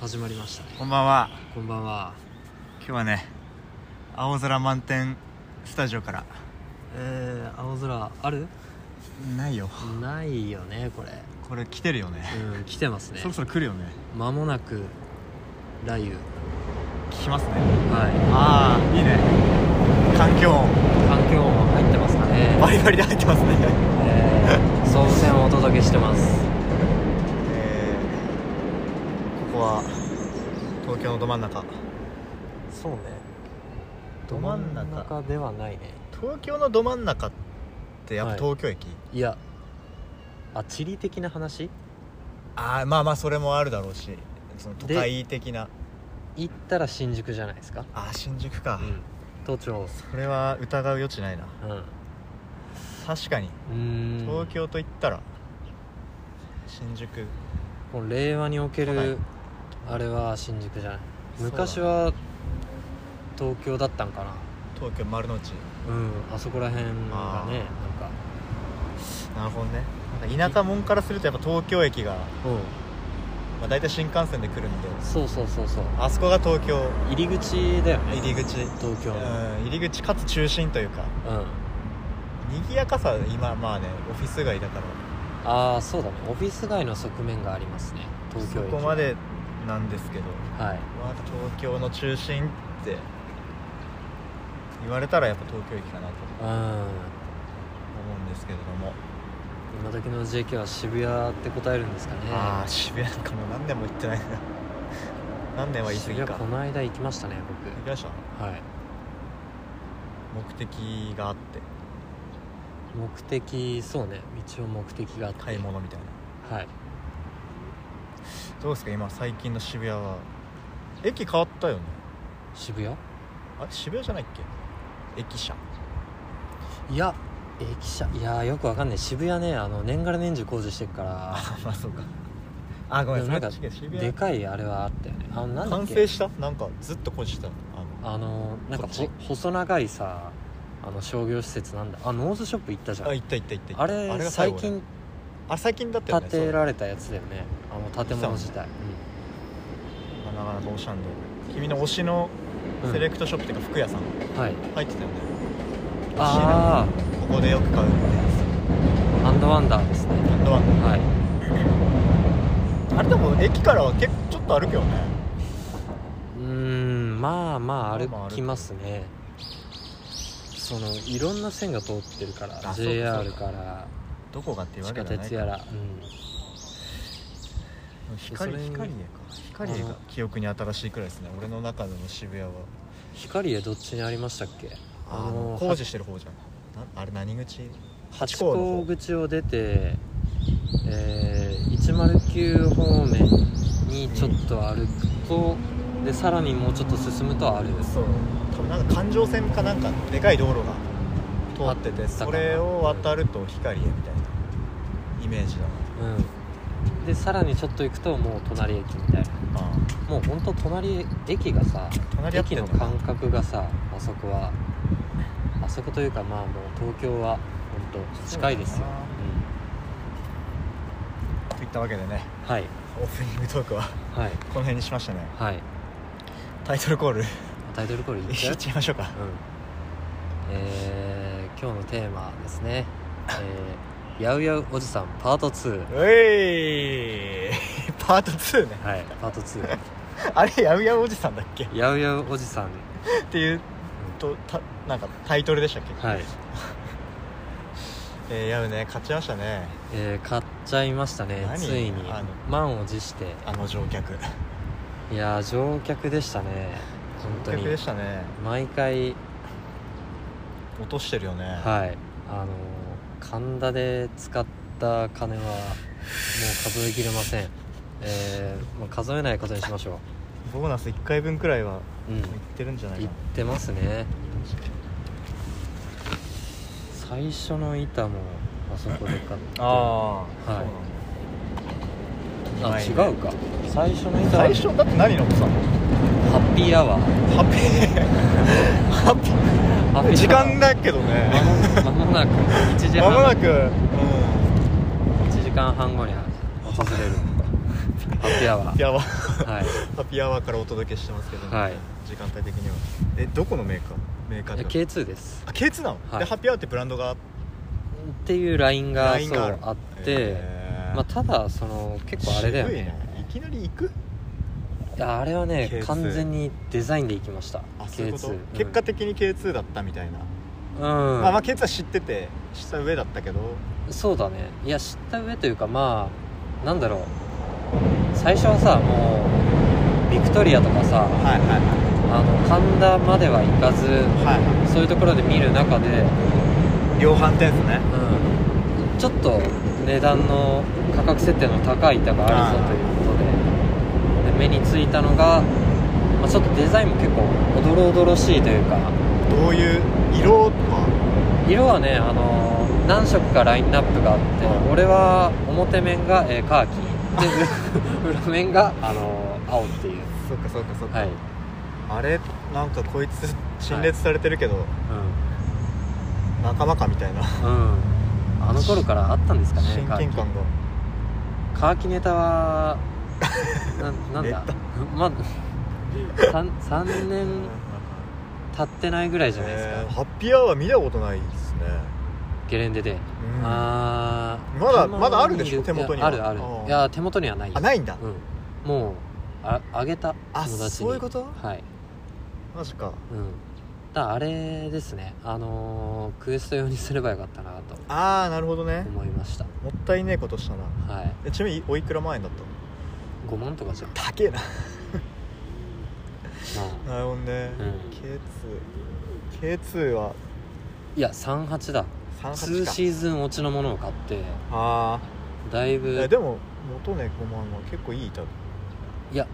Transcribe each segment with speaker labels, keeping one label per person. Speaker 1: 始まりましたね
Speaker 2: こんばんは
Speaker 1: こんばんは
Speaker 2: 今日はね青空満点スタジオから
Speaker 1: えー、青空ある
Speaker 2: ないよ
Speaker 1: ないよねこれ
Speaker 2: これ来てるよね
Speaker 1: うん来てますね
Speaker 2: そろそろ来るよね
Speaker 1: 間もなく雷
Speaker 2: 聞きますね
Speaker 1: 雨は
Speaker 2: ああいいね環境音
Speaker 1: い環境音入ってますか
Speaker 2: バ
Speaker 1: ね、
Speaker 2: リバリで入ってますね
Speaker 1: えー、総武線をお届けしてます
Speaker 2: えー、ここは東京のど真ん中
Speaker 1: そうね
Speaker 2: ど真ん中
Speaker 1: どではないね
Speaker 2: 東京のど真ん中ってやっぱ東京駅、
Speaker 1: いやあ地理的な話
Speaker 2: ああまあまあそれもあるだろうしその都会的な
Speaker 1: 行ったら新宿じゃないですか
Speaker 2: ああ新宿か、
Speaker 1: うん都庁
Speaker 2: それは疑う余地ないな
Speaker 1: うんう
Speaker 2: 確かに
Speaker 1: ーん
Speaker 2: 東京といったら、新宿
Speaker 1: もう令和におけ
Speaker 2: はい
Speaker 1: るあれは新宿じゃない
Speaker 2: そうだね
Speaker 1: 昔は東京だったんかな
Speaker 2: 東京丸の内
Speaker 1: うんあそこら辺がねなん
Speaker 2: あー
Speaker 1: か
Speaker 2: なるほどねなんか田舎者からするとやっぱ東京駅が、
Speaker 1: うん
Speaker 2: まあ、大体新幹線で来るんで
Speaker 1: そうそうそうそう
Speaker 2: あそこが東京
Speaker 1: 入り口だよね
Speaker 2: 入り口
Speaker 1: 東京
Speaker 2: う
Speaker 1: の
Speaker 2: ん入り口かつ中心というか
Speaker 1: うん
Speaker 2: 賑やかさ今まあねオフィス街だから
Speaker 1: ああそうだねオフィス街の側面がありますね東京
Speaker 2: そ
Speaker 1: 駅
Speaker 2: こまでなんですけど、
Speaker 1: はい
Speaker 2: まあ、東京の中心って言われたらやっぱ東京駅かなと
Speaker 1: うん
Speaker 2: 思うんですけれども、
Speaker 1: 今時の JK は渋谷って答えるんですかね
Speaker 2: ああ渋谷なんかもう何年も行ってないな 何年は言い過
Speaker 1: 渋
Speaker 2: ぎ
Speaker 1: 谷
Speaker 2: か
Speaker 1: この間行きましたね
Speaker 2: 行きました
Speaker 1: 僕はい
Speaker 2: 目的があって
Speaker 1: 目的そうね一応目的があって
Speaker 2: 買い物みたいな
Speaker 1: はい
Speaker 2: どうですか今最近の渋谷は駅変わったよね
Speaker 1: 渋谷
Speaker 2: あ渋谷じゃないっけ駅舎
Speaker 1: いや駅舎いやーよくわかんない渋谷ねあの年がら年中工事してるか
Speaker 2: あまあそうかあご
Speaker 1: ら
Speaker 2: め
Speaker 1: で
Speaker 2: ん
Speaker 1: も
Speaker 2: そ
Speaker 1: なんか
Speaker 2: れ違う渋
Speaker 1: で
Speaker 2: 谷
Speaker 1: かいあれはあったよねあのなんだっ
Speaker 2: 完
Speaker 1: け
Speaker 2: 成したなんかずっとこじってたあの
Speaker 1: あのなんか
Speaker 2: こっち
Speaker 1: ほ細長いさあの商業施設なんだあノーズショップ行ったじゃん
Speaker 2: あ
Speaker 1: あ
Speaker 2: 行った行った行った行った
Speaker 1: れ
Speaker 2: が
Speaker 1: 最
Speaker 2: 後だよ
Speaker 1: 近
Speaker 2: あれ最近だったよ
Speaker 1: 建
Speaker 2: ね
Speaker 1: てられたやつだよねあの建物自体
Speaker 2: そうまあなかなかおしゃんで君の推しの
Speaker 1: うん
Speaker 2: セレクトショップっていうか服屋さ
Speaker 1: う
Speaker 2: ん
Speaker 1: んはい
Speaker 2: 入ってたよね
Speaker 1: あ
Speaker 2: ここでよく買う
Speaker 1: あアンドワンダーですね
Speaker 2: ハンドワン
Speaker 1: はい
Speaker 2: あれでも駅からは結構ちょっと歩くよね
Speaker 1: うーんまあまあ
Speaker 2: まあまあ
Speaker 1: 歩
Speaker 2: 歩く
Speaker 1: きますねそのいろんな線が通ってるから
Speaker 2: そうか
Speaker 1: JR
Speaker 2: そうか
Speaker 1: から
Speaker 2: どこがって言わ
Speaker 1: 地
Speaker 2: れ
Speaker 1: 下
Speaker 2: るじ
Speaker 1: 鉄
Speaker 2: ゃない
Speaker 1: やら、うん、
Speaker 2: 光
Speaker 1: それに
Speaker 2: 光家か光家
Speaker 1: あ
Speaker 2: が
Speaker 1: の記
Speaker 2: 記憶に新しいくらいですね俺の中での渋谷は
Speaker 1: 光栄どっちにありましたっけ
Speaker 2: あの工事してる方じゃんなあれ何口
Speaker 1: 八
Speaker 2: 八甲の
Speaker 1: 甲
Speaker 2: 方
Speaker 1: 口を出て、えー109方面にちょっと歩くと、でさらにもうちょっと進むとあれです
Speaker 2: そう多分なんか環状線かなんかでかい道路が通って
Speaker 1: あ
Speaker 2: て
Speaker 1: ったかな
Speaker 2: それを渡ると光家みたいなイメージだな
Speaker 1: うんでさらにちょっと行くともう隣駅みたいな
Speaker 2: あ
Speaker 1: もうほんと隣駅がさ
Speaker 2: 隣合って
Speaker 1: 駅
Speaker 2: んだ
Speaker 1: の
Speaker 2: よ
Speaker 1: 感覚がさあそこはあそこというかまあもう東京は本当近いですよ、
Speaker 2: あといったわけでね
Speaker 1: うん、はい
Speaker 2: オープニングトークは
Speaker 1: はい
Speaker 2: この辺にしましたね
Speaker 1: はい
Speaker 2: タイトルコール
Speaker 1: タイトルコール言っちゃ
Speaker 2: 言
Speaker 1: う
Speaker 2: っち ゃいましょうか
Speaker 1: うんえー、今日のテーマはですね「えー、やうやうおじさんパート2
Speaker 2: うい パート2」ね
Speaker 1: はいパート2
Speaker 2: あれやうやうおじさんだっけ
Speaker 1: 「やうやうおじさん
Speaker 2: っていうとたなんかタイトルでしたっけ」、
Speaker 1: はい、
Speaker 2: えー、やうね勝ちましたね
Speaker 1: えー、買っちゃいましたね
Speaker 2: 何
Speaker 1: ついに
Speaker 2: あの
Speaker 1: 満を持して
Speaker 2: あの乗客
Speaker 1: いやー乗客でしたね本当
Speaker 2: 乗客で
Speaker 1: に
Speaker 2: したね
Speaker 1: 毎回
Speaker 2: 落としてるよね
Speaker 1: はいあのー神田で使った金はもう数えきれませんえー、もう数えないことにしましょ
Speaker 2: ボーナス1回分くらいは
Speaker 1: ううん
Speaker 2: いってるんじゃない
Speaker 1: 行
Speaker 2: か
Speaker 1: ってますね最初の板もあそこで買って
Speaker 2: なあ
Speaker 1: あはいあ
Speaker 2: はい
Speaker 1: 違うか最初の板は
Speaker 2: 最初だって何のもさ
Speaker 1: ハッピーアワー
Speaker 2: ハッピーハッピー
Speaker 1: ハッピー
Speaker 2: 時間だけどね
Speaker 1: 間も間もなく1時
Speaker 2: ま
Speaker 1: 半
Speaker 2: もなく、うん、
Speaker 1: 1時間半後に訪れるハッピーアワ
Speaker 2: ピ
Speaker 1: ー
Speaker 2: アワー
Speaker 1: はい
Speaker 2: ハッピーアワーからお届けしてますけども、
Speaker 1: はい
Speaker 2: 時間帯的にはえどこのメーカーメーカー
Speaker 1: いや
Speaker 2: って
Speaker 1: K2 です
Speaker 2: あ K2 なの、
Speaker 1: はい
Speaker 2: でハッピーアワーってブランドがあっ
Speaker 1: っていうラインが
Speaker 2: ラインがあ
Speaker 1: そ
Speaker 2: る
Speaker 1: うあって、
Speaker 2: へー
Speaker 1: まあ、ただその結構あれだよ
Speaker 2: 渋い
Speaker 1: ね
Speaker 2: いきなり行く
Speaker 1: いやあれはね
Speaker 2: K2
Speaker 1: 完全にデザインでいきました
Speaker 2: あそういうこと
Speaker 1: K2
Speaker 2: 結果的に K2 だったみたいな、
Speaker 1: うん、うん
Speaker 2: まあまあ K2 は知ってて知った上だったけど
Speaker 1: そうだねいや知った上というかまあなんだろう最初はさもうビクトリアとかさ
Speaker 2: はいはいはい
Speaker 1: あの神田までは行かず
Speaker 2: はいは
Speaker 1: そういうところで見る中で、
Speaker 2: い量販店ですね
Speaker 1: うん、ちょっと値段の価格設定の高い板があるぞということでで目についたのが、まあ、ちょっとデザインも結構おどろおどろしいというか
Speaker 2: どういう色は
Speaker 1: 色はね、あのー何色かラインナップがあって、
Speaker 2: はい
Speaker 1: 俺は表面が、えーカーキで 裏裏面が、あのー青っていう
Speaker 2: そっかそっかそっか、
Speaker 1: はい、うん、
Speaker 2: あれなんかこいつ陳列されてるけど、仲間かみたいな、
Speaker 1: うん、あの頃からあったんですかね
Speaker 2: 親
Speaker 1: カー
Speaker 2: 近
Speaker 1: キ
Speaker 2: 感が
Speaker 1: カーキネタはななんだ
Speaker 2: ネ
Speaker 1: まあ 3, 3年経ってないぐらいじゃないです
Speaker 2: えー
Speaker 1: か
Speaker 2: ハッピーアワー見たことないですね、
Speaker 1: ゲレンデで、
Speaker 2: うん
Speaker 1: ああ
Speaker 2: まだまだあるでしょ手元には
Speaker 1: あるある
Speaker 2: うん
Speaker 1: いや手元にはないよ
Speaker 2: あないんだ、
Speaker 1: うん、もうああげた
Speaker 2: あ
Speaker 1: 友達に
Speaker 2: そういうこと
Speaker 1: はい
Speaker 2: マジか
Speaker 1: うんだからあれですねあのークエスト用にすればよかったなと
Speaker 2: ああなるほどね
Speaker 1: 思いました
Speaker 2: もったいねえことしたな
Speaker 1: はい
Speaker 2: えちなみにおいくら万円だったの
Speaker 1: 5万とかじゃん
Speaker 2: 高えな
Speaker 1: まあ
Speaker 2: なるほどね、
Speaker 1: うん
Speaker 2: K2K2 はい
Speaker 1: や38だ
Speaker 2: 38
Speaker 1: 2
Speaker 2: か
Speaker 1: シーズン落ちのものを買って
Speaker 2: あ
Speaker 1: だい
Speaker 2: あ
Speaker 1: ぶ
Speaker 2: えでも元ね5万は結構いい板
Speaker 1: いや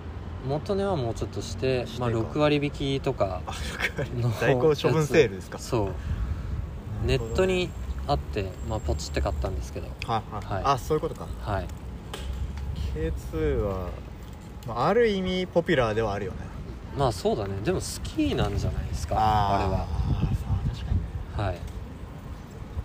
Speaker 1: 元値はもうちょっとして
Speaker 2: して
Speaker 1: まあ、
Speaker 2: か
Speaker 1: 6割引きとか
Speaker 2: あよ くあ
Speaker 1: の
Speaker 2: 在庫処分セールですか
Speaker 1: そう
Speaker 2: な
Speaker 1: ネ
Speaker 2: るほど
Speaker 1: ットにあって、まあ、ポチって買ったんですけど
Speaker 2: はいはい、
Speaker 1: はい
Speaker 2: あそういうことか
Speaker 1: はい
Speaker 2: K2 は、まあ、ある意味ポピュラーではあるよね
Speaker 1: まあそうだねでもスキーなんじゃないですか
Speaker 2: あ
Speaker 1: あれは
Speaker 2: ーあー確かにね
Speaker 1: はい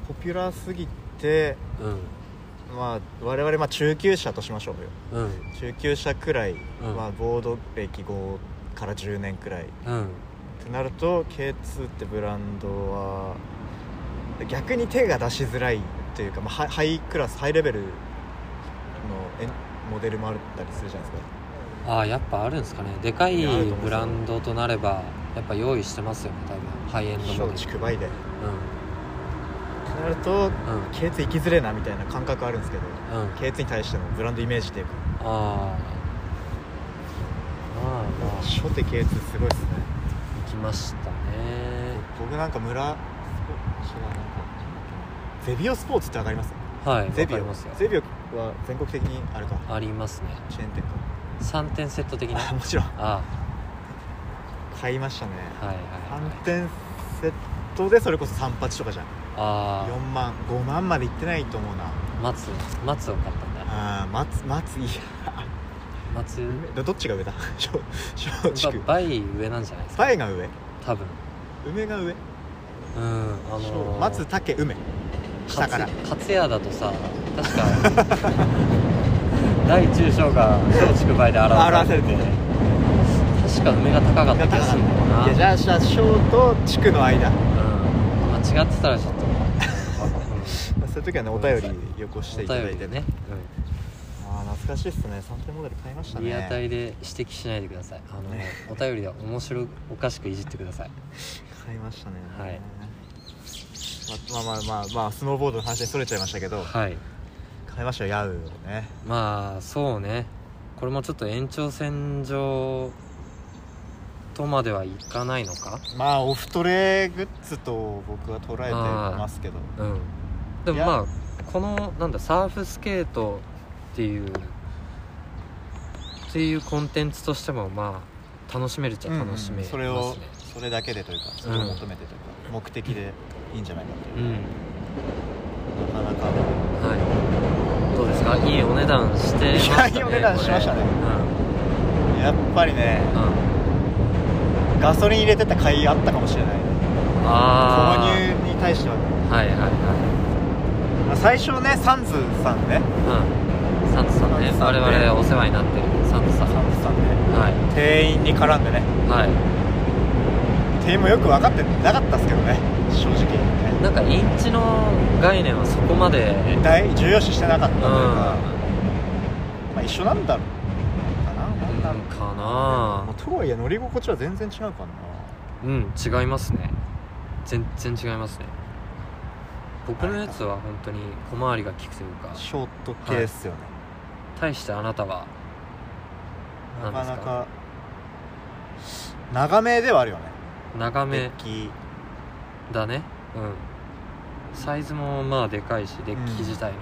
Speaker 2: ポピュラーすぎて
Speaker 1: う
Speaker 2: まあ我々まあ中級者としましょうよ
Speaker 1: んうん
Speaker 2: 中級者くらい、
Speaker 1: うん
Speaker 2: まあ、ボード歴5から10年くらいっ
Speaker 1: うん
Speaker 2: てなると K2 ってブランドは逆に手が出しづらいっていうか、まあ、ハイハイクラスハイレベルのえモデルもあったりするじゃないですか
Speaker 1: ああやっぱあるんですかねでかい
Speaker 2: いやあると思う
Speaker 1: ブランドとなればやっぱ用意してますよね多分ハイエンドモ
Speaker 2: 松
Speaker 1: デル
Speaker 2: 竹梅でって
Speaker 1: う
Speaker 2: なると
Speaker 1: んうん
Speaker 2: K2 行きづれえなみたいな感覚あるんですけど
Speaker 1: うん
Speaker 2: K2 に対してのブランドイメージっていうか
Speaker 1: ああまあまあ
Speaker 2: 初手 K2 すごいですね
Speaker 1: 来ましたね
Speaker 2: 僕なんか村スポーツ違うなんかゼビオスポーツってわかります
Speaker 1: はいわか
Speaker 2: ゼビ
Speaker 1: り
Speaker 2: オ
Speaker 1: ますよ
Speaker 2: ゼビオは全国的にあるか
Speaker 1: ありますね
Speaker 2: チェーン店か
Speaker 1: 3点セット的な
Speaker 2: あもちろん
Speaker 1: あ
Speaker 2: 買いましたね
Speaker 1: あはいはいはい
Speaker 2: 3点セットでそれこそ3八とかじゃん
Speaker 1: あ
Speaker 2: 4万5万までいってないと思うな
Speaker 1: あ松松を買ったんだ
Speaker 2: あー松松い
Speaker 1: 松
Speaker 2: やどどっちが上だ松松竹
Speaker 1: ば倍上なんじゃないですか
Speaker 2: パエが上
Speaker 1: 多分
Speaker 2: 梅が上
Speaker 1: うんあのー、
Speaker 2: 松竹梅下から
Speaker 1: 勝勝屋だとさ確か大中小が松竹梅で表されて
Speaker 2: 表されてる
Speaker 1: 確か梅が高かった気がするんだよな、
Speaker 2: いやじゃあじゃあ小と地区の間
Speaker 1: うん、間違ってたらちょっとうん
Speaker 2: そういう時はねお便りよこしていただい
Speaker 1: お
Speaker 2: て
Speaker 1: 便りでね、
Speaker 2: ああ懐かしいっすね3点モデル買いまし
Speaker 1: う
Speaker 2: た
Speaker 1: ん、
Speaker 2: ね
Speaker 1: リアタイで指摘しないでくださいあの、
Speaker 2: ね
Speaker 1: お便りでは面白おかしくいじってください
Speaker 2: 買いましたね
Speaker 1: はい
Speaker 2: ままあまあまあまあスノーボードの話にそれちゃいましたけど
Speaker 1: はい
Speaker 2: 買いましたよヤウをね
Speaker 1: まあそうねこれもちょっと延長線上とまではいかないのか
Speaker 2: まあオフトレグッズと僕は捉えてますけど
Speaker 1: うんでも
Speaker 2: いや
Speaker 1: まあこのなんだサーフスケートっていうっていうコンテンツとしてもまあ楽しめるっちゃ楽しめ
Speaker 2: う
Speaker 1: ますね
Speaker 2: んそれをそれだけでというかそれを求めてというか、目的でいいんじゃないかっていうう、
Speaker 1: ん
Speaker 2: なかなか
Speaker 1: はいどうですかいいお値段してましたね
Speaker 2: いやいいお値段しましたね
Speaker 1: こ
Speaker 2: やっぱりね
Speaker 1: れうん、うん、
Speaker 2: ガソリン入れてた甲斐あったかもしれない購
Speaker 1: ああ
Speaker 2: 入に対しては、
Speaker 1: はいはいは
Speaker 2: まあ、最初ねサンズさんね
Speaker 1: い、うん、サンタさんね
Speaker 2: サンタさん
Speaker 1: 我
Speaker 2: ね
Speaker 1: 々お世話になってるサンタさん
Speaker 2: サンタさんね
Speaker 1: は
Speaker 2: 店員に絡んで
Speaker 1: い
Speaker 2: ね
Speaker 1: は
Speaker 2: 店員もよく分かってなかったっすけどね正直
Speaker 1: いなんかインチの概念はそこまで
Speaker 2: ね大重要視してなかったと
Speaker 1: う
Speaker 2: い
Speaker 1: ん
Speaker 2: うか、まあ一緒なんだろうかななんだろう
Speaker 1: か
Speaker 2: ま
Speaker 1: な
Speaker 2: あとはいえ乗り心地は全然違うからな
Speaker 1: うん違いますね全然違いますね僕のやつは本当に小回りが利くというか
Speaker 2: ショート系っすよね、
Speaker 1: 対してあなたははい
Speaker 2: なかな
Speaker 1: な
Speaker 2: か長めではあるよね
Speaker 1: 長
Speaker 2: デ
Speaker 1: め
Speaker 2: ッキ
Speaker 1: だねうんサイズもまあでかいしデッキ自体の、うん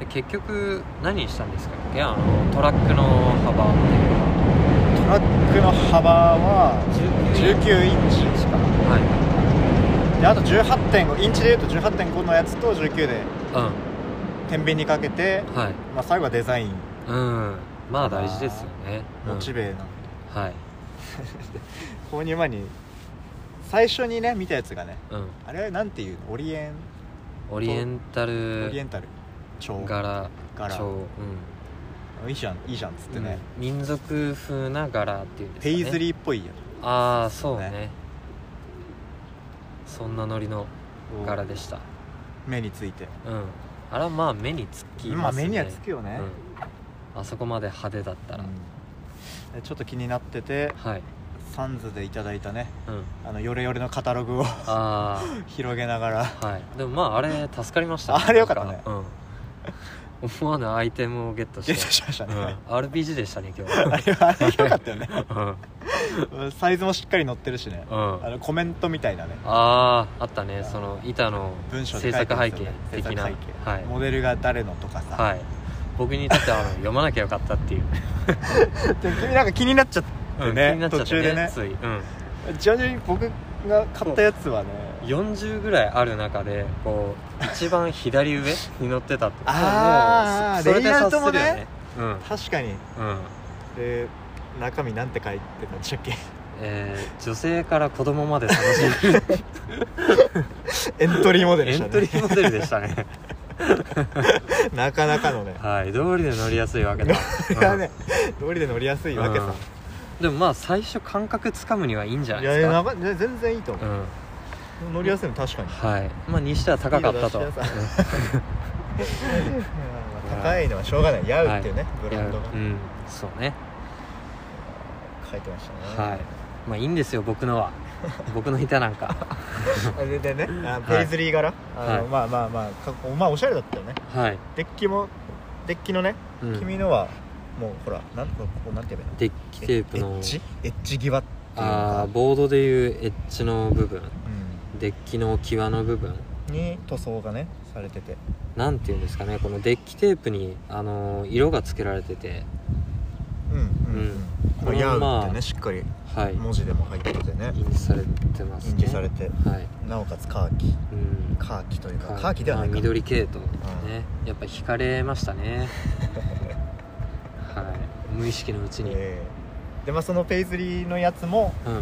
Speaker 1: で結局何にしたんですかいやあのトラックの幅っ
Speaker 2: トラックの幅は
Speaker 1: ていうか
Speaker 2: 19インチ
Speaker 1: しかは
Speaker 2: であと18.5インチでいうと18.5のやつと19で
Speaker 1: い
Speaker 2: 天秤にかけて、
Speaker 1: うんはい
Speaker 2: まあ、最後はデザイン
Speaker 1: うんまあ大事ですよね
Speaker 2: モチベなんで、
Speaker 1: うんはい
Speaker 2: 購入前に最初にね見たやつがね
Speaker 1: うん
Speaker 2: あれはなんていうのオリエン
Speaker 1: オリエンタ
Speaker 2: オリエ
Speaker 1: ル
Speaker 2: ンタル調
Speaker 1: 柄
Speaker 2: 柄
Speaker 1: 調うん
Speaker 2: いいじゃんいいじゃんっつってね、
Speaker 1: 民族風な柄っていうんですか
Speaker 2: ペ
Speaker 1: ね
Speaker 2: イズリーっぽいや
Speaker 1: ああそうね
Speaker 2: ね
Speaker 1: そんなノリの
Speaker 2: つ
Speaker 1: 柄でした
Speaker 2: 目について
Speaker 1: うんあれはまあ目につき
Speaker 2: ま
Speaker 1: ま
Speaker 2: あ
Speaker 1: すね
Speaker 2: 目にはつくよね、
Speaker 1: うんあそこまで派手だったら、
Speaker 2: うんちょっと気になってて
Speaker 1: はい
Speaker 2: サンズでいただいたね
Speaker 1: うん
Speaker 2: あのヨレヨレのカタログを
Speaker 1: あ
Speaker 2: 広げながら
Speaker 1: あはいでもまああれ助かりました、
Speaker 2: あれよかったね
Speaker 1: なんうん思わぬアイテムをゲットして
Speaker 2: ゲットしました
Speaker 1: う
Speaker 2: ね、
Speaker 1: ん RPG でしたね今日
Speaker 2: あ れはあれよかったよね
Speaker 1: うん
Speaker 2: サイズもしっかり載ってるしね、
Speaker 1: うん
Speaker 2: あのコメントみたいなね
Speaker 1: あああったねその板の
Speaker 2: 文章
Speaker 1: 制
Speaker 2: で書いて
Speaker 1: 作
Speaker 2: る
Speaker 1: 背
Speaker 2: んです
Speaker 1: 景
Speaker 2: よね
Speaker 1: 的な
Speaker 2: 制作背景
Speaker 1: はい、
Speaker 2: モデルが誰のとかさ、
Speaker 1: はい、僕にとってはあの 読まなきゃよかったって いう、
Speaker 2: で君なんか気になっちゃってね,、
Speaker 1: 気になっちゃっ
Speaker 2: 途
Speaker 1: て
Speaker 2: 中でね
Speaker 1: つい、うん、
Speaker 2: 徐々に僕が買ったやつはね
Speaker 1: 40ぐらいある中でこう一番左上に乗ってたって
Speaker 2: あー
Speaker 1: もうそそれで
Speaker 2: レイアウ
Speaker 1: 察
Speaker 2: ト
Speaker 1: す
Speaker 2: も
Speaker 1: る
Speaker 2: ね
Speaker 1: よねうん
Speaker 2: 確かに
Speaker 1: うん
Speaker 2: で中身なんて書いてたんでしたっけ
Speaker 1: えー女性から子供まで楽しめる
Speaker 2: エントリーモデル
Speaker 1: エ
Speaker 2: でした
Speaker 1: ン
Speaker 2: ね
Speaker 1: トリーモデルでした ね
Speaker 2: なかなかのね
Speaker 1: はい通りで乗りやすいわけだ
Speaker 2: いやね通りで乗りやすいわけさ、
Speaker 1: うんでもまあ最初感覚つかむにはいいんじゃない
Speaker 2: い
Speaker 1: で
Speaker 2: やい
Speaker 1: す
Speaker 2: や
Speaker 1: か
Speaker 2: なか全然いいと思
Speaker 1: う
Speaker 2: う、
Speaker 1: ん
Speaker 2: 乗りやすいの確かに、
Speaker 1: はいまあにしては高かったと
Speaker 2: いいよ出しなさ高いのはしょうがないヤウっていうね、ブランドが
Speaker 1: うんそうね
Speaker 2: 書いてましたね、
Speaker 1: はいまあいいんですよ僕の は僕の板なんか
Speaker 2: あれでねあ
Speaker 1: はい
Speaker 2: ペイズリー柄、あの
Speaker 1: はい
Speaker 2: まあまあまあかまあおしゃれだったよね
Speaker 1: はい、
Speaker 2: デッキもデッキのね、
Speaker 1: うん
Speaker 2: 君のはもうほらなんここなんて言えばいいの
Speaker 1: デッキテープの
Speaker 2: エッジエッジ際っていうの
Speaker 1: あ
Speaker 2: か
Speaker 1: ーボードでいうエッジの部分デッキの際の部分
Speaker 2: うん、に塗装がねされてて
Speaker 1: なんていうんですかねこのデッキテープに、あのー色がつけられてて
Speaker 2: うん
Speaker 1: う
Speaker 2: うん
Speaker 1: ん
Speaker 2: うん
Speaker 1: こ
Speaker 2: こ
Speaker 1: れ
Speaker 2: れヤウ
Speaker 1: まあ
Speaker 2: ってねしっかり
Speaker 1: はい
Speaker 2: 文字でも入っててね
Speaker 1: 印字されてますね
Speaker 2: 印字されて
Speaker 1: はい、
Speaker 2: なおかつカーキ
Speaker 1: うん、
Speaker 2: カーキというかカーキではない
Speaker 1: ま
Speaker 2: か
Speaker 1: あ緑系統ね、やっぱ惹かれました ねはい無意識のうちに、
Speaker 2: えーでまあそのペイズリーのやつも、
Speaker 1: うん
Speaker 2: ま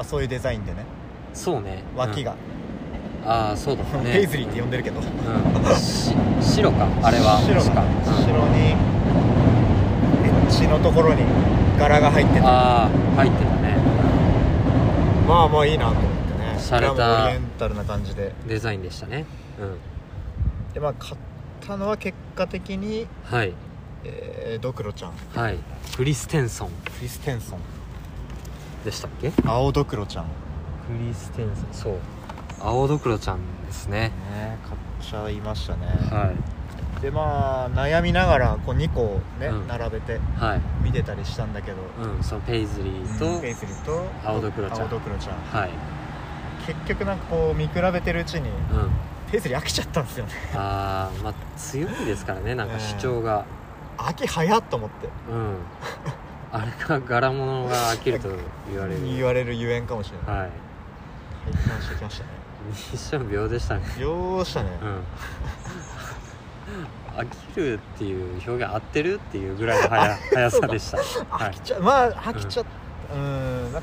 Speaker 2: あ、そういうデザインでね
Speaker 1: そうね
Speaker 2: 脇、が、
Speaker 1: うんああそうだね
Speaker 2: ペイズリーって呼んでるけ
Speaker 1: う
Speaker 2: ど
Speaker 1: ん、し白かあれは
Speaker 2: 白
Speaker 1: 確
Speaker 2: が
Speaker 1: か、
Speaker 2: 白にエッジのところに柄が入ってて
Speaker 1: うんああ入ってたね
Speaker 2: まあまあいいなと思ってね
Speaker 1: 洒落た
Speaker 2: しかもオリエンタルな感じで
Speaker 1: デザインでしたねうん
Speaker 2: でまあ買ったのは結果的に、
Speaker 1: はい
Speaker 2: えードクロちゃん
Speaker 1: はいクリステンソン
Speaker 2: クリステンソン
Speaker 1: でしたっけク
Speaker 2: 青ドクロちゃん
Speaker 1: リステンソンそう青ドクロちゃんですね
Speaker 2: ね買っちゃいましたね、
Speaker 1: はい
Speaker 2: でまあ悩みながらこう2個をね、
Speaker 1: うん
Speaker 2: 並べて
Speaker 1: はい
Speaker 2: 見てたりしたんだけど、
Speaker 1: うんそのペイズリーと、
Speaker 2: ペイズリーと
Speaker 1: 青ドクロちゃん
Speaker 2: 青ドクロちゃん
Speaker 1: はい
Speaker 2: 結局なんかこう見比べてるうちに
Speaker 1: うん
Speaker 2: ペイズリー飽きちゃったんですよね
Speaker 1: あーまあ強いですからねなんか主張が、
Speaker 2: 飽き早っと思って
Speaker 1: うんあれが柄物が飽きると言われる
Speaker 2: 言われるゆえんかもしれない
Speaker 1: はい
Speaker 2: 体感してきましたね
Speaker 1: 一瞬秒でしたね
Speaker 2: よーしたね、
Speaker 1: うん飽きるっていう表現合ってるっていうぐらいの 速速さでしたは
Speaker 2: 飽
Speaker 1: い
Speaker 2: きちゃまあ飽きちゃったうんなんか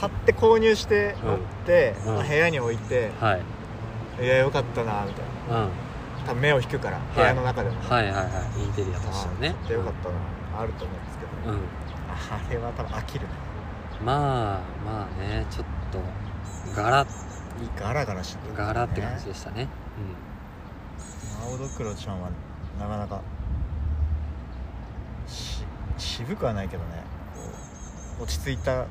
Speaker 2: 買って購入して
Speaker 1: うん
Speaker 2: 持って、
Speaker 1: うん
Speaker 2: まあ部屋に置いて
Speaker 1: はい
Speaker 2: いやよかったなみたい
Speaker 1: う
Speaker 2: な
Speaker 1: ん
Speaker 2: 多分目を引くから部屋の中でも、
Speaker 1: はいはいはいインテリアとしてはね
Speaker 2: あー買ってよかったなあると思うんですけど、
Speaker 1: うん
Speaker 2: あれは多分飽きるね
Speaker 1: まあまあねちょっとガラ
Speaker 2: ガラガラして
Speaker 1: ガラって感じ
Speaker 2: ね
Speaker 1: でしたね
Speaker 2: 青ドクロちゃんはなかなかし渋くはないけどねこう落ち着いた
Speaker 1: うんあ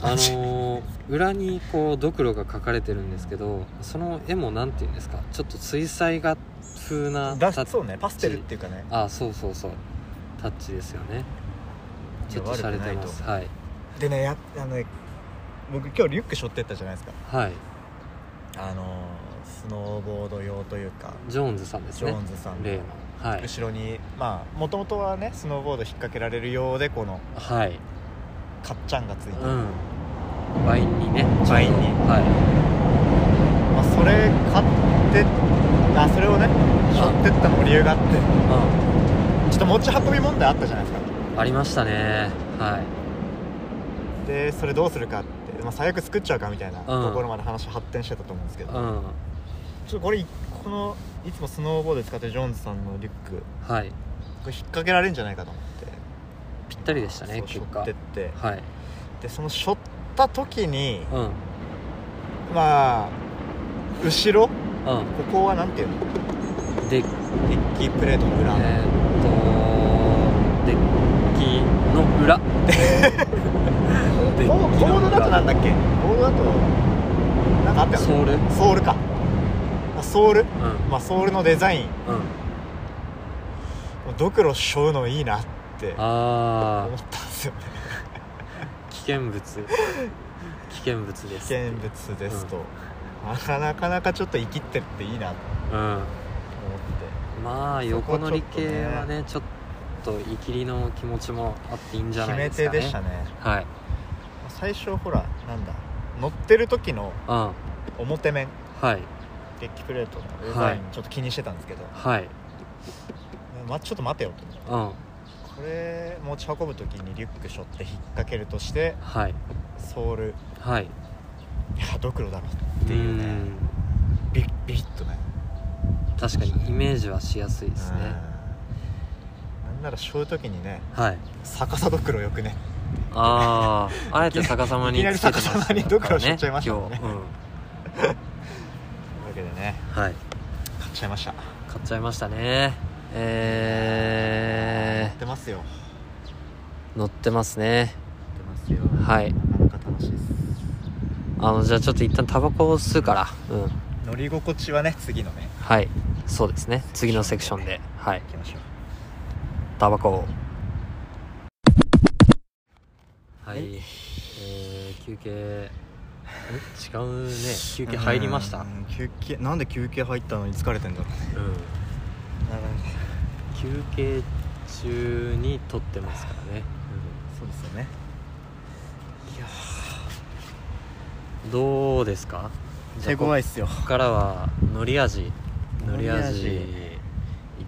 Speaker 2: 感じ、
Speaker 1: のー裏にこうドクロが描かれてるんですけどその絵もなんていうんですかちょっと水彩画風なタ
Speaker 2: だ
Speaker 1: ッチ
Speaker 2: そうねパステルっていうかね
Speaker 1: あそうそうそうタッチですよねちょっと
Speaker 2: いや
Speaker 1: 洒
Speaker 2: 悪
Speaker 1: 落
Speaker 2: くな
Speaker 1: て
Speaker 2: い
Speaker 1: ますはい
Speaker 2: でねやあのね僕今日リュック背負ってったじゃないですか
Speaker 1: はい
Speaker 2: あのスノーボード用というか
Speaker 1: ジョーンズさんです
Speaker 2: ジョ
Speaker 1: ね
Speaker 2: ーンズさんの
Speaker 1: 例のはい
Speaker 2: 後ろにまあもともとはねスノーボード引っ掛けられるようでこの
Speaker 1: はい
Speaker 2: カッチャンがついて
Speaker 1: う
Speaker 2: る、
Speaker 1: んワインにねちょうど
Speaker 2: ワインに
Speaker 1: は
Speaker 2: まあ、それ買ってあそれをね背負ってったのも理由があって
Speaker 1: い、
Speaker 2: ちょっと持ち運び問題あったじゃないですか
Speaker 1: うんありましたねはい
Speaker 2: でそれどうするかって、まあ、最悪作っちゃうかみたいなところまで話発展してたと思うんですけど、ちょ
Speaker 1: うん
Speaker 2: っとこれこのいつもスノーボードで使ってるジョーンズさんのリュック
Speaker 1: はい
Speaker 2: これ引っ掛けられるんじゃないかと思って
Speaker 1: ぴったりでしたね
Speaker 2: そう
Speaker 1: 結
Speaker 2: 背負
Speaker 1: 果
Speaker 2: ってって
Speaker 1: はい
Speaker 2: でその背負った時に
Speaker 1: うんうん
Speaker 2: まあ後ろここはなんていうの
Speaker 1: でえー、っ
Speaker 2: デッキプレートの裏、
Speaker 1: とデッキの裏
Speaker 2: ボーボードだとなんだっけボードだとなんかあったよ
Speaker 1: ソ
Speaker 2: ね
Speaker 1: ールうん
Speaker 2: ソールかあソールまあソールのデザイン
Speaker 1: うん
Speaker 2: ドクロ背負うのいいなって
Speaker 1: あ
Speaker 2: 思
Speaker 1: あ
Speaker 2: ったんですよね
Speaker 1: 危険物危険物です
Speaker 2: 危険物ですと、なかなかなかちょっと生きってるっていいなと
Speaker 1: うん
Speaker 2: 思って
Speaker 1: まあ
Speaker 2: そ
Speaker 1: 横
Speaker 2: こはちょっとね
Speaker 1: 乗り系はねちょっとイキリの気持ちもあっていいんじゃ
Speaker 2: 決
Speaker 1: ない
Speaker 2: め
Speaker 1: です
Speaker 2: 手
Speaker 1: かね
Speaker 2: でしたね
Speaker 1: はい
Speaker 2: 最初ほらなんだ乗ってる時の
Speaker 1: うん
Speaker 2: 表面
Speaker 1: はい
Speaker 2: デッキプレートのデザイン
Speaker 1: は
Speaker 2: ちょっと気にしてたんですけど、
Speaker 1: はい
Speaker 2: ま、ちょっと待てよと思って
Speaker 1: うん
Speaker 2: これ持ち運ぶ時にリュック背負って引っ掛けるとして
Speaker 1: はい
Speaker 2: ソール
Speaker 1: はい
Speaker 2: いやドクロだろっていうね
Speaker 1: ん
Speaker 2: ビッビビッとね
Speaker 1: 確かにイメージはしやすいですね
Speaker 2: うんなんならそういう時にね
Speaker 1: はい
Speaker 2: 逆さドクロよくね
Speaker 1: あああえて逆さまに
Speaker 2: いきなり
Speaker 1: つけてました
Speaker 2: いきなり逆さまにドクロしちゃいましたもんね
Speaker 1: 今日うん
Speaker 2: というわけでね
Speaker 1: はい
Speaker 2: 買っちゃいました買
Speaker 1: 買っちゃいましたねえ
Speaker 2: ってますよ
Speaker 1: ー、乗ってますね
Speaker 2: 買ってますよ
Speaker 1: はい
Speaker 2: なかなか楽しいです
Speaker 1: あのじゃあちょっと一旦タバコを吸うからうん
Speaker 2: 乗り心地はね次のね
Speaker 1: はいそうですね次のセクションではい
Speaker 2: 行きましょう
Speaker 1: タバコをはい、えー、休憩ん違うね休憩入りました
Speaker 2: うん休憩なんで休憩入ったのに疲れてんだろう
Speaker 1: うん
Speaker 2: なかなか
Speaker 1: 休憩中に撮ってますからね、
Speaker 2: そうですよねいや
Speaker 1: どうですか
Speaker 2: 手強い
Speaker 1: い
Speaker 2: っすよ
Speaker 1: ここからはのり味のり
Speaker 2: 海
Speaker 1: 味
Speaker 2: 苔
Speaker 1: いっ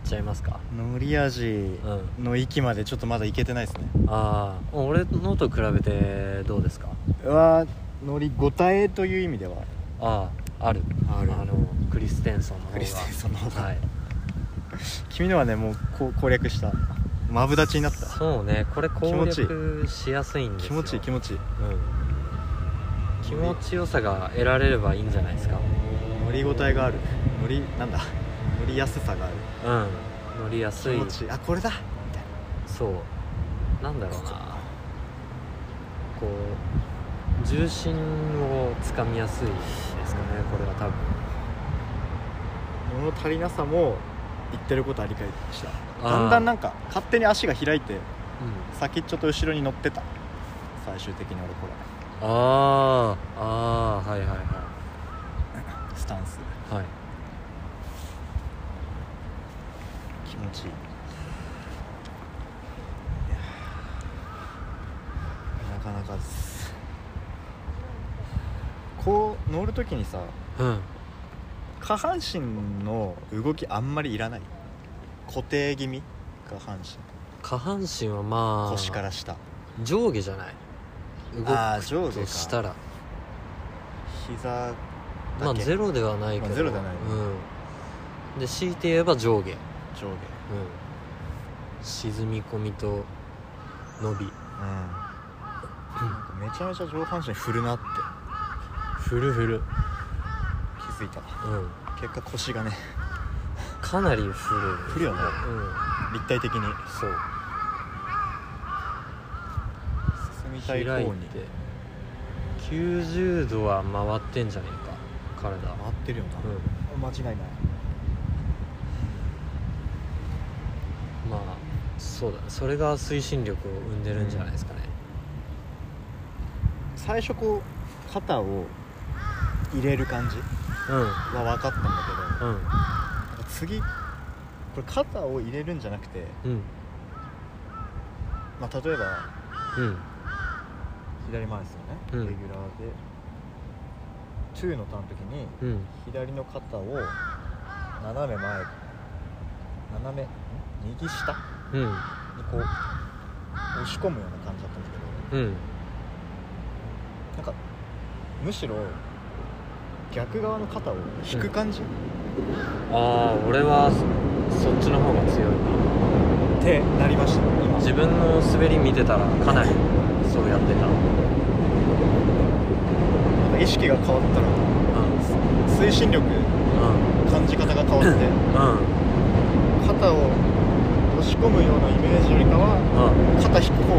Speaker 2: 味
Speaker 1: ちゃいますか
Speaker 2: 乗り味
Speaker 1: う
Speaker 2: の域までちょっとまだ行けてないですね
Speaker 1: ああ俺のと比べてどうですか
Speaker 2: うわ乗りごたえという意味では
Speaker 1: ああある
Speaker 2: ある
Speaker 1: あのクリステンソンの方が
Speaker 2: クリステンソンの方が
Speaker 1: はい
Speaker 2: 君のはねもうこう攻略したマブダチになった
Speaker 1: そうねこれ攻
Speaker 2: 気持ちい
Speaker 1: 略しやすいんです
Speaker 2: 気
Speaker 1: よ
Speaker 2: 持ちいい気持ちいい
Speaker 1: うん、気持ちよさが得られればいいんじゃないですか
Speaker 2: 乗りごたえがある乗りなんだ乗りやすさがある
Speaker 1: うん乗りや
Speaker 2: 気
Speaker 1: すい
Speaker 2: 持ちいいあこれだみたい
Speaker 1: そうなんだろうなこう重心をつかみやすいですかねこれは多分
Speaker 2: な物足りなさも言ってることは理解した
Speaker 1: あー
Speaker 2: だんだんなんか勝手に足が開いて
Speaker 1: うん
Speaker 2: 先っちょと後ろに乗ってた最終的に俺こ
Speaker 1: あーあーはいはいは
Speaker 2: れスタンス
Speaker 1: いはい
Speaker 2: 気持ちいいいやーなかなかですこう乗るときにさ
Speaker 1: うん
Speaker 2: 下半身の動きあんまりいらない固定気味下半身
Speaker 1: 下半身はまあ
Speaker 2: 腰から下
Speaker 1: 上下じゃない
Speaker 2: あー
Speaker 1: 動く
Speaker 2: 上
Speaker 1: と
Speaker 2: 下か
Speaker 1: したら
Speaker 2: 膝だけ
Speaker 1: まあゼロではないけど、
Speaker 2: まあゼロではない
Speaker 1: うんで強いて言えば上下、うん、
Speaker 2: 上下
Speaker 1: 沈み込みと伸び
Speaker 2: うんなんかめちゃめちゃ上半身振るなって
Speaker 1: フルフル
Speaker 2: 気づいた
Speaker 1: うん
Speaker 2: 結果腰がね
Speaker 1: かなりフル
Speaker 2: 振るよね
Speaker 1: うん
Speaker 2: 立体的に
Speaker 1: そう
Speaker 2: 進みた
Speaker 1: 開
Speaker 2: い方
Speaker 1: いて
Speaker 2: に回
Speaker 1: 90度は回ってんじゃねえか体は
Speaker 2: ってるよな、
Speaker 1: う
Speaker 2: 間違いない
Speaker 1: んまあそうだねそれが推進力を生んでるんじゃないですかね
Speaker 2: 最初こう肩を入れる感じ
Speaker 1: う
Speaker 2: は分かったんだけど
Speaker 1: んうん
Speaker 2: なんか次これ肩を入れるんじゃなくて、
Speaker 1: うん
Speaker 2: まあ、例えば
Speaker 1: うん
Speaker 2: 左前ですよね、
Speaker 1: うん
Speaker 2: レギュラーで2のターンの時に
Speaker 1: うん
Speaker 2: 左の肩を斜め前斜めん右下
Speaker 1: うん
Speaker 2: にこう押し込むような感じだったんだけ
Speaker 1: う
Speaker 2: ど
Speaker 1: ん
Speaker 2: なんかむしろ逆側の肩を引く感じ、
Speaker 1: ああ俺はそそっちの方が強いな
Speaker 2: ってなりました今
Speaker 1: 自分の滑り見てたらかなりそうやってた
Speaker 2: なんか意識が変わったら
Speaker 1: う
Speaker 2: 推進力
Speaker 1: ん
Speaker 2: 感じ方が変わっ
Speaker 1: う
Speaker 2: て
Speaker 1: ん
Speaker 2: 肩を押し込むようなイメージよりかは
Speaker 1: うんうん
Speaker 2: 肩引く方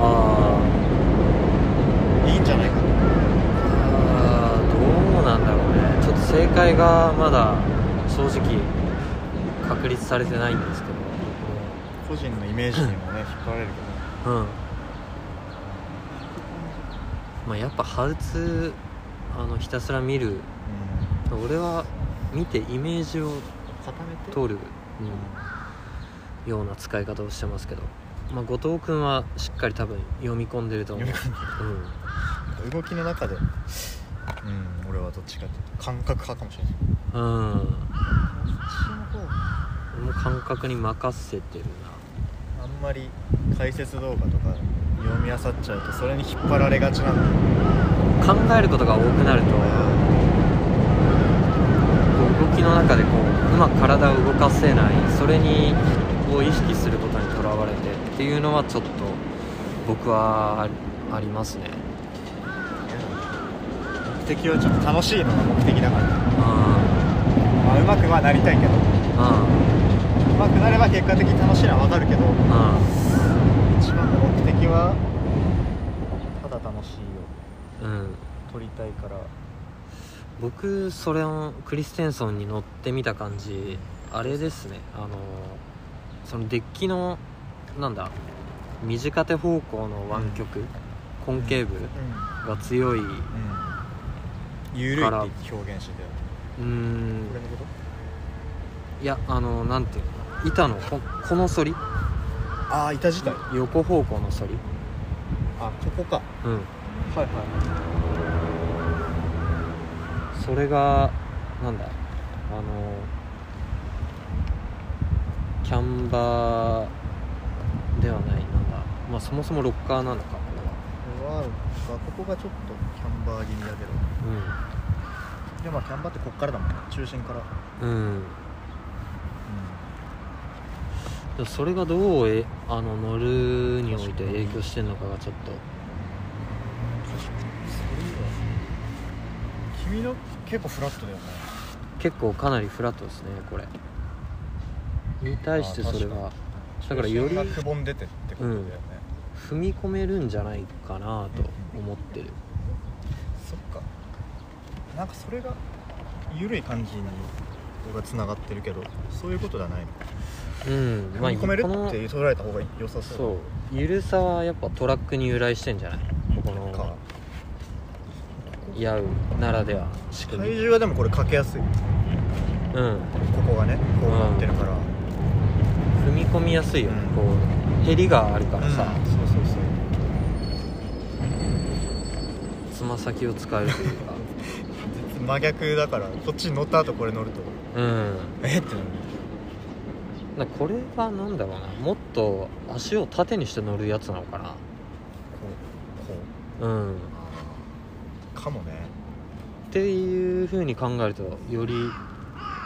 Speaker 1: ああ
Speaker 2: がいいんじゃないかと
Speaker 1: あーどうなんだろうねちょっと正解がまだ正直確立されてないんですけ
Speaker 2: 個人のイメージにもね引っ張られるけ
Speaker 1: どうんまあやっぱハウツーあのひたすら見る
Speaker 2: ど、うん、
Speaker 1: 俺は見てイメージを
Speaker 2: 固めて
Speaker 1: 通る、うん、ような使い方をしてますけど、まあ、後藤君はしっかり多分読み込んでると思う、
Speaker 2: 読み
Speaker 1: うん、
Speaker 2: 動きの中でうん俺はどっちかっていうと感覚派かもしれない
Speaker 1: うん、も
Speaker 2: そっちの方
Speaker 1: う感覚に任せてるな
Speaker 2: あんまり解説動画とか読み漁っちゃうとそれに引っ張られがちなんだ
Speaker 1: 考えることが多くなるとこう動きの中でこううまく体を動かせないそれにこう意識することにとらわれてっていうのはちょっと僕はあありますね
Speaker 2: 目的をちょっと楽しいのが目的だか
Speaker 1: あ
Speaker 2: ら、まあ、うまくはなりたいけど
Speaker 1: ああ
Speaker 2: うまくなれば結果的に楽しいのは分かるけど
Speaker 1: ああ
Speaker 2: 一番の目的はただ楽しい
Speaker 1: あうん
Speaker 2: を撮りたいから
Speaker 1: 僕それをクリステンソンに乗ってみた感じあれですねあのそのデッキのなんだ右手方向の湾曲、コンケーブル
Speaker 2: う
Speaker 1: が強い
Speaker 2: んうん緩い
Speaker 1: から
Speaker 2: って表現してたよ
Speaker 1: うん
Speaker 2: これのこと
Speaker 1: いやあのなんていうの板のここの反り
Speaker 2: ああ板自体
Speaker 1: 横方向の反り
Speaker 2: あここか
Speaker 1: うん
Speaker 2: はいは
Speaker 1: それがなんだあのキャンバーではないなんだまあそもそもロッカーなのかこ
Speaker 2: いこれはここがちょっとキャンバー気味だけど
Speaker 1: れは
Speaker 2: でもまあキャンバーってこっからだもんね中心から
Speaker 1: うんうん
Speaker 2: う
Speaker 1: でもそれがどうえあの乗るにおいて影響してるのかがちょっ
Speaker 2: ん確かにそれいいわ君の結構フラットだよね
Speaker 1: と結構かなりフラットですねこれに対してそれ
Speaker 2: あ
Speaker 1: はだからより
Speaker 2: 中心がくぼんでてってことだよね、
Speaker 1: 踏み込めるんじゃないかなと思ってる
Speaker 2: そっかなんかそれが緩い感じに僕はつながってるけどそういうことじゃないの
Speaker 1: うん
Speaker 2: 踏み込める
Speaker 1: こ
Speaker 2: っ
Speaker 1: の
Speaker 2: て捉えた方が良さそう
Speaker 1: そうゆるさはやっぱトラックに由来してんじゃないここ
Speaker 2: か
Speaker 1: のヤウならではの仕組
Speaker 2: 体
Speaker 1: み
Speaker 2: 重はでもこれかけやすいこ
Speaker 1: うん
Speaker 2: こがねこうなってるから、
Speaker 1: 踏み込みやすいよね、
Speaker 2: う
Speaker 1: こ
Speaker 2: ん
Speaker 1: うへりがあるからさ
Speaker 2: さ、そうそうそう
Speaker 1: つま先を使えるという か
Speaker 2: 真逆だからこっちに乗った後これ乗ると
Speaker 1: うん
Speaker 2: えってなる
Speaker 1: だからこれはなんだろうなもっと足を縦にして乗るやつなのかな
Speaker 2: こうこ
Speaker 1: うん
Speaker 2: うかもね
Speaker 1: っていう風に考えるとより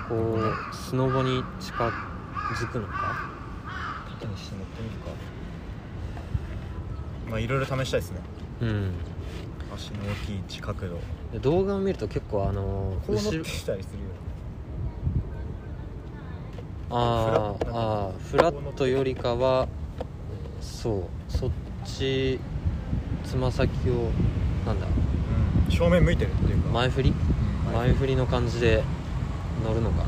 Speaker 1: こうスノボに近づくのか
Speaker 2: 縦にして乗ってみるかまあいろいろ試したいですね
Speaker 1: うん
Speaker 2: 足の大きい位置角度
Speaker 1: で動画を見ると結構あの
Speaker 2: こう乗っ
Speaker 1: 後
Speaker 2: て
Speaker 1: ろ
Speaker 2: きたりするよ
Speaker 1: あ
Speaker 2: フ
Speaker 1: ー
Speaker 2: ラットな
Speaker 1: あーフラットよりかはそうそっちつま先をなんだ
Speaker 2: うん正面向いてるっていうか
Speaker 1: 前振り
Speaker 2: うん
Speaker 1: 前振りの感じで乗るのかな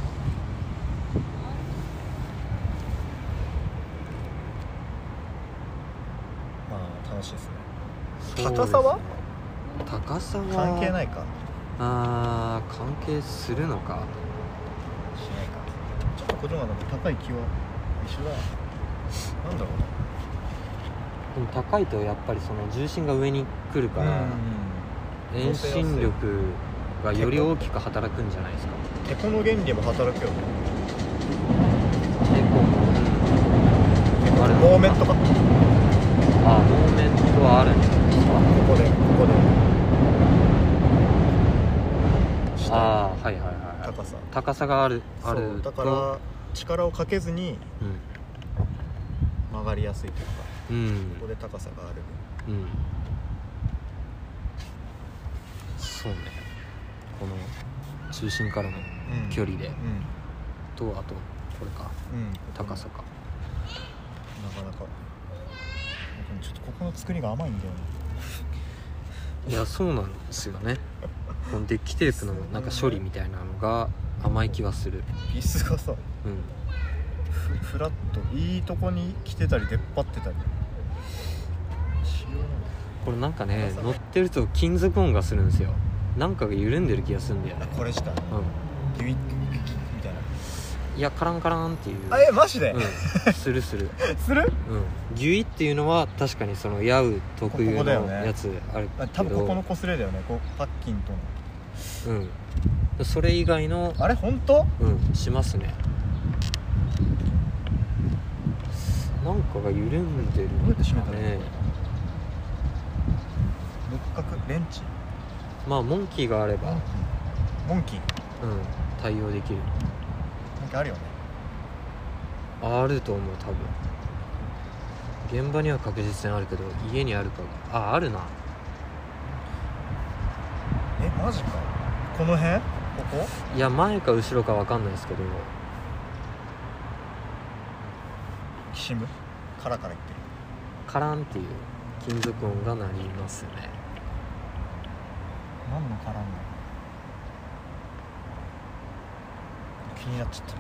Speaker 2: まあ楽しいですね
Speaker 1: そう
Speaker 2: 高さは
Speaker 1: ですね高さは
Speaker 2: 関係ないか
Speaker 1: あー関係するのか
Speaker 2: しないかちょっとこっちの方が高い気は一緒だなんだろ
Speaker 1: でも高いとやっぱりその重心が上に来る
Speaker 2: う
Speaker 1: か
Speaker 2: な
Speaker 1: ら遠心力がより大きく働くんじゃないですか
Speaker 2: テコの原理も働くよね
Speaker 1: 結構ある
Speaker 2: モーメントかこ
Speaker 1: ああモーメントはあるんじゃないですか
Speaker 2: こでここで下
Speaker 1: ああはいはいはいはい
Speaker 2: 高さ
Speaker 1: 高さがあるあ
Speaker 2: そ
Speaker 1: る
Speaker 2: うだか
Speaker 1: と
Speaker 2: ら力をかけずに曲がりやすいというか
Speaker 1: うんうん
Speaker 2: ここで高さがある
Speaker 1: うんそうねこの中心からの
Speaker 2: 分、
Speaker 1: 距離で
Speaker 2: うん
Speaker 1: とあとこれか
Speaker 2: うん、
Speaker 1: 高さか
Speaker 2: なかなかちょっとここの作りが甘いんだよね
Speaker 1: いやそうなんですよねこのデッキテープのなんか処理みたいなのが甘い気はする
Speaker 2: ピースがさ
Speaker 1: うん
Speaker 2: フフラットいいとこに来てたり出っ張ってたりしよ
Speaker 1: これなんかね乗ってると金属音がするんですよなんかが緩んでる気がするんだよ
Speaker 2: う
Speaker 1: ね
Speaker 2: なこれした
Speaker 1: う
Speaker 2: ギュイッギュイッギュイッみたいなん
Speaker 1: いやカランカランっていう
Speaker 2: あえマジで、
Speaker 1: うんするする
Speaker 2: する
Speaker 1: うんギュイっていうのは確かにそのヤウ特有
Speaker 2: こ
Speaker 1: の
Speaker 2: こだよね
Speaker 1: やつあるけど
Speaker 2: あ多分ここの擦れだよねこうパッキンとの
Speaker 1: うんそれ以外の
Speaker 2: あれ本当
Speaker 1: うんしますねなんかが緩んでる
Speaker 2: どうやって閉めたの
Speaker 1: ね
Speaker 2: 六角レンチ
Speaker 1: まあモンキーがあれば、
Speaker 2: モンキー
Speaker 1: うん、対応できる
Speaker 2: モンキーあるよね
Speaker 1: あると思う多分現場には確実にあるけど家にあるかがああるな
Speaker 2: えマジかこの辺ここ
Speaker 1: いや前か後ろか分かんないですけど
Speaker 2: きしむカラカラいってる
Speaker 1: カランっていう金属音が鳴りますね
Speaker 2: 何の絡んだ気になっちゃった
Speaker 1: う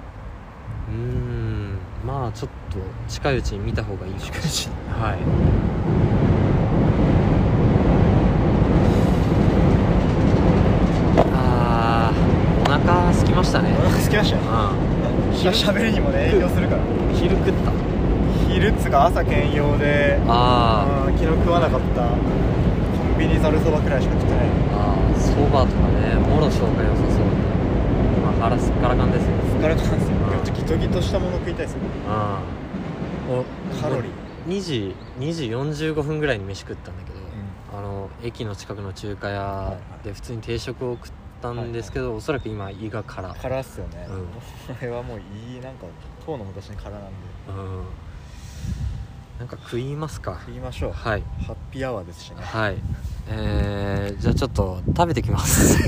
Speaker 1: ーんまあちょっと近いうちに見た方がいいかもし
Speaker 2: し
Speaker 1: れないはいあーお腹空きましたね
Speaker 2: お腹すきましたよ
Speaker 1: う
Speaker 2: 昼喋りにもね影響するから
Speaker 1: ん昼食った
Speaker 2: 昼っつが朝兼用で
Speaker 1: あー
Speaker 2: うん昨日食わなかったコンビニざるそばくらいしか食ってない
Speaker 1: ああそばとかねもろしょうが良さそうまあ腹すっからかんですよ
Speaker 2: 疲れたんですよ
Speaker 1: うん
Speaker 2: ちょっとギトギトしたもの食いたいですよ
Speaker 1: ああ
Speaker 2: カロリー
Speaker 1: 2時2時45分ぐらいに飯食ったんだけど、あの駅の近くの中華屋で普通に定食を食ったんですけど、おそらく今胃が空
Speaker 2: 辛っすよね
Speaker 1: うん
Speaker 2: これはもういいなんか当の昔に辛なんで
Speaker 1: うんなんか食いますか
Speaker 2: 食いましょうハ
Speaker 1: はい
Speaker 2: ッピーアワーですしね
Speaker 1: はいえー、じゃあちょっと食べてきます